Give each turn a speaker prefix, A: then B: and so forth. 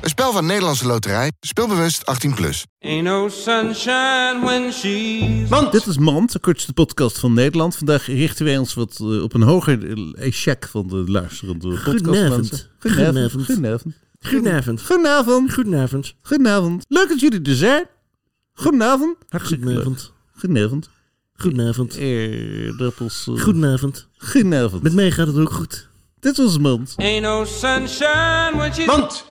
A: Een spel van Nederlandse Loterij. Speelbewust 18+. Plus.
B: Ain't no sunshine when she's
C: Dit is Mand, de kortste podcast van Nederland. Vandaag richten wij ons wat eh, op een hoger eh, échec van de luisterende podcastmensen.
D: Goedenavond.
C: Goedenavond.
D: Goedenavond.
C: Goedenavond.
D: Goedenavond.
C: Goedenavond. Leuk dat jullie er zijn. Goedenavond. Hartstikke leuk.
D: Goedenavond.
C: Goedenavond.
D: Goedenavond.
C: Eerdappels. eh,
D: Goedenavond.
C: Goedenavond.
D: Met mij gaat het ook goed.
C: Dit was Mand.
B: ain't no sunshine when she's